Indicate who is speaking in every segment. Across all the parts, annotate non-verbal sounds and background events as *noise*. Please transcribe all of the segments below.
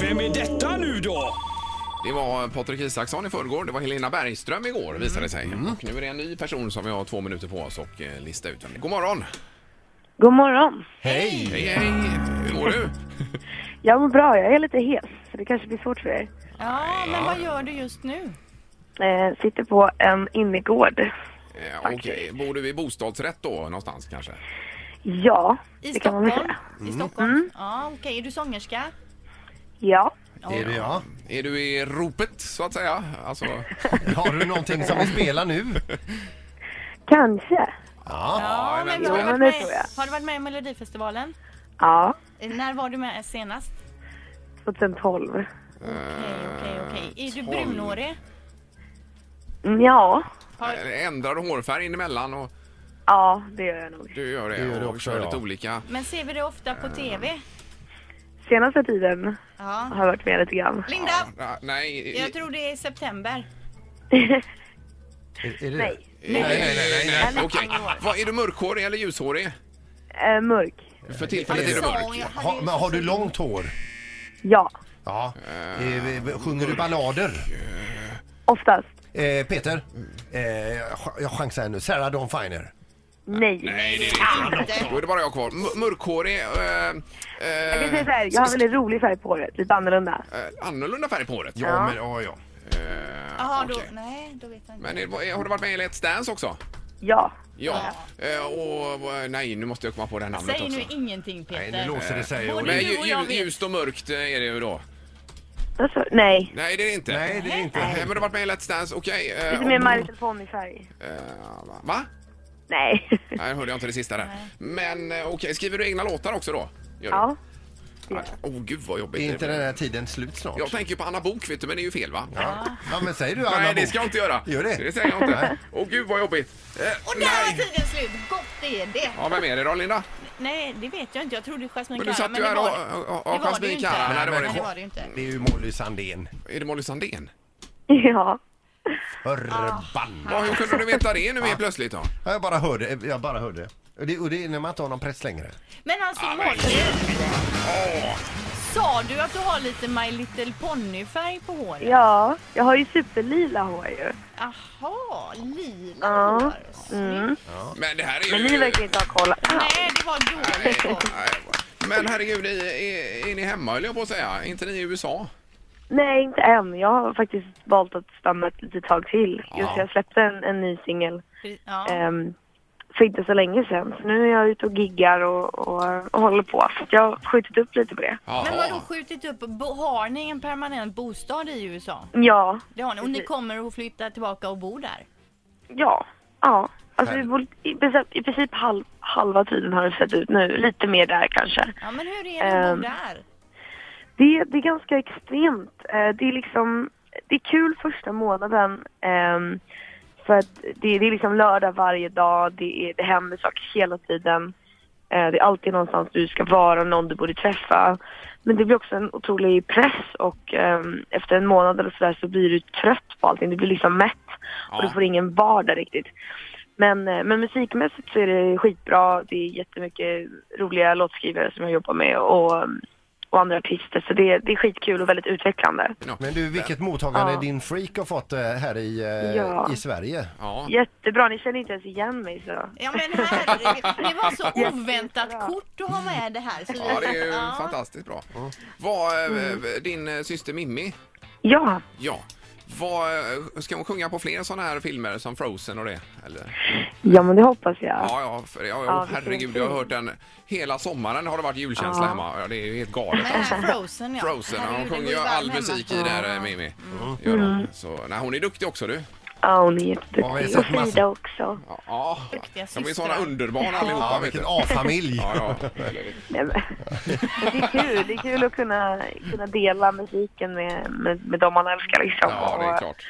Speaker 1: Vem är detta nu då?
Speaker 2: Det var Patrik Isaksson i förrgår, det var Helena Bergström igår visade det sig. Och nu är det en ny person som vi har två minuter på oss och eh, lista ut. vem. God morgon!
Speaker 3: God morgon.
Speaker 2: Hej hej! Hur mår du?
Speaker 3: Jag mår bra, jag är lite hes. Så det kanske blir svårt för er.
Speaker 4: Ja, men vad gör du just nu?
Speaker 3: Eh, sitter på en innergård.
Speaker 2: Eh, Okej, bor du i bostadsrätt då någonstans kanske?
Speaker 3: Ja,
Speaker 4: I
Speaker 3: det kan man väl
Speaker 4: Stockholm?
Speaker 3: säga.
Speaker 2: Mm.
Speaker 3: Mm.
Speaker 4: I Stockholm? Ja, okej. Är du sångerska?
Speaker 3: Ja.
Speaker 5: Är det jag?
Speaker 2: Är du i ropet så att säga? Alltså,
Speaker 5: Har du någonting som du spelar nu?
Speaker 3: Kanske.
Speaker 4: Ja, men
Speaker 3: Jo,
Speaker 4: har,
Speaker 3: men
Speaker 4: du varit
Speaker 3: det
Speaker 4: med,
Speaker 3: tror jag.
Speaker 4: har du varit med i Melodifestivalen?
Speaker 3: Ja,
Speaker 4: Eh, När var du med senast?
Speaker 3: 2012.
Speaker 4: Okej,
Speaker 2: Eh,
Speaker 4: okej, okej. Är du brunhårig?
Speaker 3: Mm, Ja,
Speaker 2: eller eh, ändrar du hårfärg in emellan och
Speaker 3: ja det gör jag nog.
Speaker 2: du gör det,
Speaker 5: gör du
Speaker 2: och
Speaker 5: också,
Speaker 2: kör
Speaker 5: ja.
Speaker 2: lite olika.
Speaker 4: Men ser vi det ofta
Speaker 2: Eh.
Speaker 4: på TV?
Speaker 3: Senaste tiden
Speaker 4: Ja.
Speaker 3: har jag varit med lite grann. *laughs*
Speaker 4: Linda!
Speaker 2: Ah, Nej, i-
Speaker 4: Jag tror det är september.
Speaker 5: Är, är det
Speaker 3: Nej,
Speaker 2: nej, nej, nej, nej, nej.
Speaker 4: Eller
Speaker 2: Okej.
Speaker 4: hår.
Speaker 2: Vad, är du mörkhårig eller ljushårig?
Speaker 3: eh, mörk.
Speaker 2: För tillfället är
Speaker 4: Så,
Speaker 2: du mörk.
Speaker 4: jag hade
Speaker 5: Ha,
Speaker 4: ju-
Speaker 5: men har du långt hår?
Speaker 3: Ja,
Speaker 5: Ja. Eh, sjunger du ballader?
Speaker 3: oftast.
Speaker 5: Eh, Peter?
Speaker 2: Mm.
Speaker 5: Eh, jag ch- jag chansar här nu. Sarah Dawn Finer?
Speaker 3: Nej.
Speaker 2: Nej, det är det inte. Då är det bara jag kvar. M- mörkhårig, eh, eh,
Speaker 3: Jag kan säga så här, jag har väldigt rolig färg på håret, lite annorlunda.
Speaker 2: eh, annorlunda färg på håret.
Speaker 5: Ja, men ja, ja.
Speaker 4: Jaha, då...
Speaker 2: Okej.
Speaker 4: Nej, då vet jag inte.
Speaker 2: Men är, vad är- har du varit med i Let's Dance också?
Speaker 3: Ja,
Speaker 2: Ja. Eh, och, eh, nej, nu måste jag komma på det här namnet
Speaker 4: Säg
Speaker 2: också.
Speaker 4: nu ingenting, Peter.
Speaker 5: Nej, nu låser det sig.
Speaker 4: Både
Speaker 5: Och
Speaker 2: Eh, Men
Speaker 5: det,
Speaker 4: du och jag
Speaker 2: ju,
Speaker 4: vet.
Speaker 2: ljust och mörkt eh, är det ju då.
Speaker 3: alltså, nej.
Speaker 2: Nej, det är det inte.
Speaker 5: nej, det är
Speaker 2: Eh,
Speaker 5: inte.
Speaker 2: Men du har varit med i Let's Dance, okej. eh,
Speaker 3: Lite
Speaker 2: och-
Speaker 3: mer My Little Pony-färg.
Speaker 2: eh, va?
Speaker 3: Nej. *laughs*
Speaker 2: Nej, hörde jag inte det sista där. Men eh, okej, skriver du egna låtar också då? Gör du?
Speaker 3: Ja,
Speaker 2: Nej. Åh gud vad jobbigt.
Speaker 5: Är
Speaker 2: det
Speaker 5: inte
Speaker 2: blir.
Speaker 5: den här tiden slut snart?
Speaker 2: Jag tänker ju på Anna Bok vet du, men det är ju fel va?
Speaker 5: Ja. ja, men säger du Anna
Speaker 2: Nej, det
Speaker 5: Bok?
Speaker 2: ska jag inte göra.
Speaker 5: Gör det?
Speaker 2: Det säger jag inte. Åh gud vad jobbigt. Eh,
Speaker 4: Och där var
Speaker 2: nej!
Speaker 4: tiden slut! Gott är det!
Speaker 2: Ja, vem är det då Linda?
Speaker 4: Nej, det vet jag inte. Jag trodde Jasmine
Speaker 2: Men du
Speaker 4: Cara,
Speaker 2: satt ju
Speaker 4: det
Speaker 2: här
Speaker 4: var-
Speaker 2: och- och- och-
Speaker 4: det var
Speaker 2: Jasmine
Speaker 4: det ju inte.
Speaker 2: Cara, nej, det var det
Speaker 4: Nej,
Speaker 2: inte.
Speaker 4: det var det ju inte.
Speaker 5: Det är ju Molly Sandén.
Speaker 2: Är det Molly Sandén?
Speaker 3: *laughs* ja. Ah,
Speaker 5: Förbannat.
Speaker 2: Ja, hur kunde du veta det nu helt plötsligt då?
Speaker 5: Ja, jag bara hörde. Jag bara hörde. Och det, och det är när man inte har någon press längre.
Speaker 4: Men alltså Molly, sa du att du har lite My Little Pony-färg på håret?
Speaker 3: Ja, jag har ju superlila hår ju.
Speaker 4: Jaha, lila
Speaker 3: Ja. Mm.
Speaker 4: hår. Snyggt.
Speaker 2: Men det här är ju...
Speaker 3: Men ni verkar inte ha koll.
Speaker 4: Nej, det var dåligt.
Speaker 2: Nej,
Speaker 4: hår.
Speaker 2: nej. Men herregud, är, är, är ni hemma höll jag på att säga? Är inte ni i USA?
Speaker 3: Nej, inte än. Jag har faktiskt valt att stanna ett litet tag till. Just jag släppte en, en ny singel
Speaker 4: Ja.
Speaker 3: ehm, för inte så länge sedan. Så nu är jag ute och giggar och, och, och håller på. Så att jag har skjutit upp lite på det.
Speaker 4: Men vadå skjutit upp? Bo- Har ni en permanent bostad i USA?
Speaker 3: Ja,
Speaker 4: Det har ni. Och ni
Speaker 3: Precis.
Speaker 4: kommer att flytta tillbaka och bo där?
Speaker 3: ja, ja. Alltså vi bor i, princip- i princip halv, halva tiden har det sett ut nu. Lite mer där kanske.
Speaker 4: Ja, men hur är det att
Speaker 3: Ehm.
Speaker 4: bo där?
Speaker 3: Det, det är ganska extremt. Eh, Det är liksom, det är kul första månaden. ehm, För att det, det är liksom lördag varje dag, det, är, det händer saker hela tiden. Eh, Det är alltid någonstans du ska vara, någon du borde träffa. Men det blir också en otrolig press och ehm, efter en månad eller sådär så blir du trött på allting. Du blir liksom mätt och du får ingen vardag riktigt. Men, eh, men musikmässigt så är det skitbra. Det är jättemycket roliga låtskrivare som jag jobbar med och, och andra artister. Så det, det är skitkul och väldigt utvecklande.
Speaker 5: Men du, vilket mottagande
Speaker 3: Ja.
Speaker 5: din freak har fått eh, här i, eh,
Speaker 3: Ja.
Speaker 5: i Sverige?
Speaker 2: Ja.
Speaker 3: Jättebra, ni känner inte ens igen mig så.
Speaker 4: Ja men herregud, det var så oväntat kort att ha med det här. Så vi-
Speaker 2: Ja, det är ju
Speaker 4: Ja. Mm.
Speaker 2: fantastiskt bra. Vad, eh, Din eh, syster Mimmi,
Speaker 3: Ja,
Speaker 2: ja. Vad, eh, ska hon sjunga på fler sådana här filmer som Frozen och det? Eller?
Speaker 3: ja men det hoppas jag.
Speaker 2: Ja, ja, för, ja,
Speaker 3: Ja,
Speaker 2: ja
Speaker 3: vilken
Speaker 2: herregud, jag har
Speaker 3: film.
Speaker 2: hört den hela sommaren har det varit julkänsla
Speaker 3: Ja.
Speaker 2: hemma. Ja, det är ju helt galet. alltså.
Speaker 4: Men här Frozen ja.
Speaker 2: Frozen, ja,
Speaker 4: Herregud,
Speaker 2: hon sjunger
Speaker 4: det går
Speaker 2: ju
Speaker 4: varm
Speaker 2: all
Speaker 4: hemma.
Speaker 2: Mm. musik i där, eh, Mimmi. Gör hon. Så, nej, hon är duktig också du.
Speaker 3: Ja, hon är
Speaker 5: Ja, vi har
Speaker 3: jätteduktig.
Speaker 5: sett
Speaker 3: Och Frida
Speaker 5: massa-
Speaker 3: också.
Speaker 2: Ja,
Speaker 4: Duktiga
Speaker 2: de är
Speaker 4: systrar.
Speaker 2: såna underbara allihopa.
Speaker 5: Ja,
Speaker 2: vet
Speaker 5: vilken
Speaker 2: du.
Speaker 5: A-familj.
Speaker 4: *laughs*
Speaker 2: Ja, ja.
Speaker 3: Nej, men- *laughs* Men det är kul. Det är kul att kunna, kunna dela musiken med, med, med dem man älskar liksom.
Speaker 2: ja, det
Speaker 3: Och-
Speaker 2: är klart.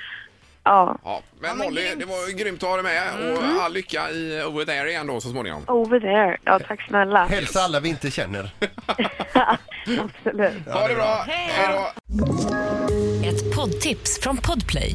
Speaker 3: Ja.
Speaker 2: Ja. Men,
Speaker 4: Ja, men
Speaker 2: Molly,
Speaker 4: grymt. Mm.
Speaker 2: det var ju grymt att ha dig med och all lycka i Over There igen då så småningom.
Speaker 3: Over there. Ja, tack snälla.
Speaker 5: Hälsa alla vi inte känner.
Speaker 3: *laughs* Absolut.
Speaker 2: Ha det bra! Hej då!
Speaker 6: Ett poddtips från Podplay.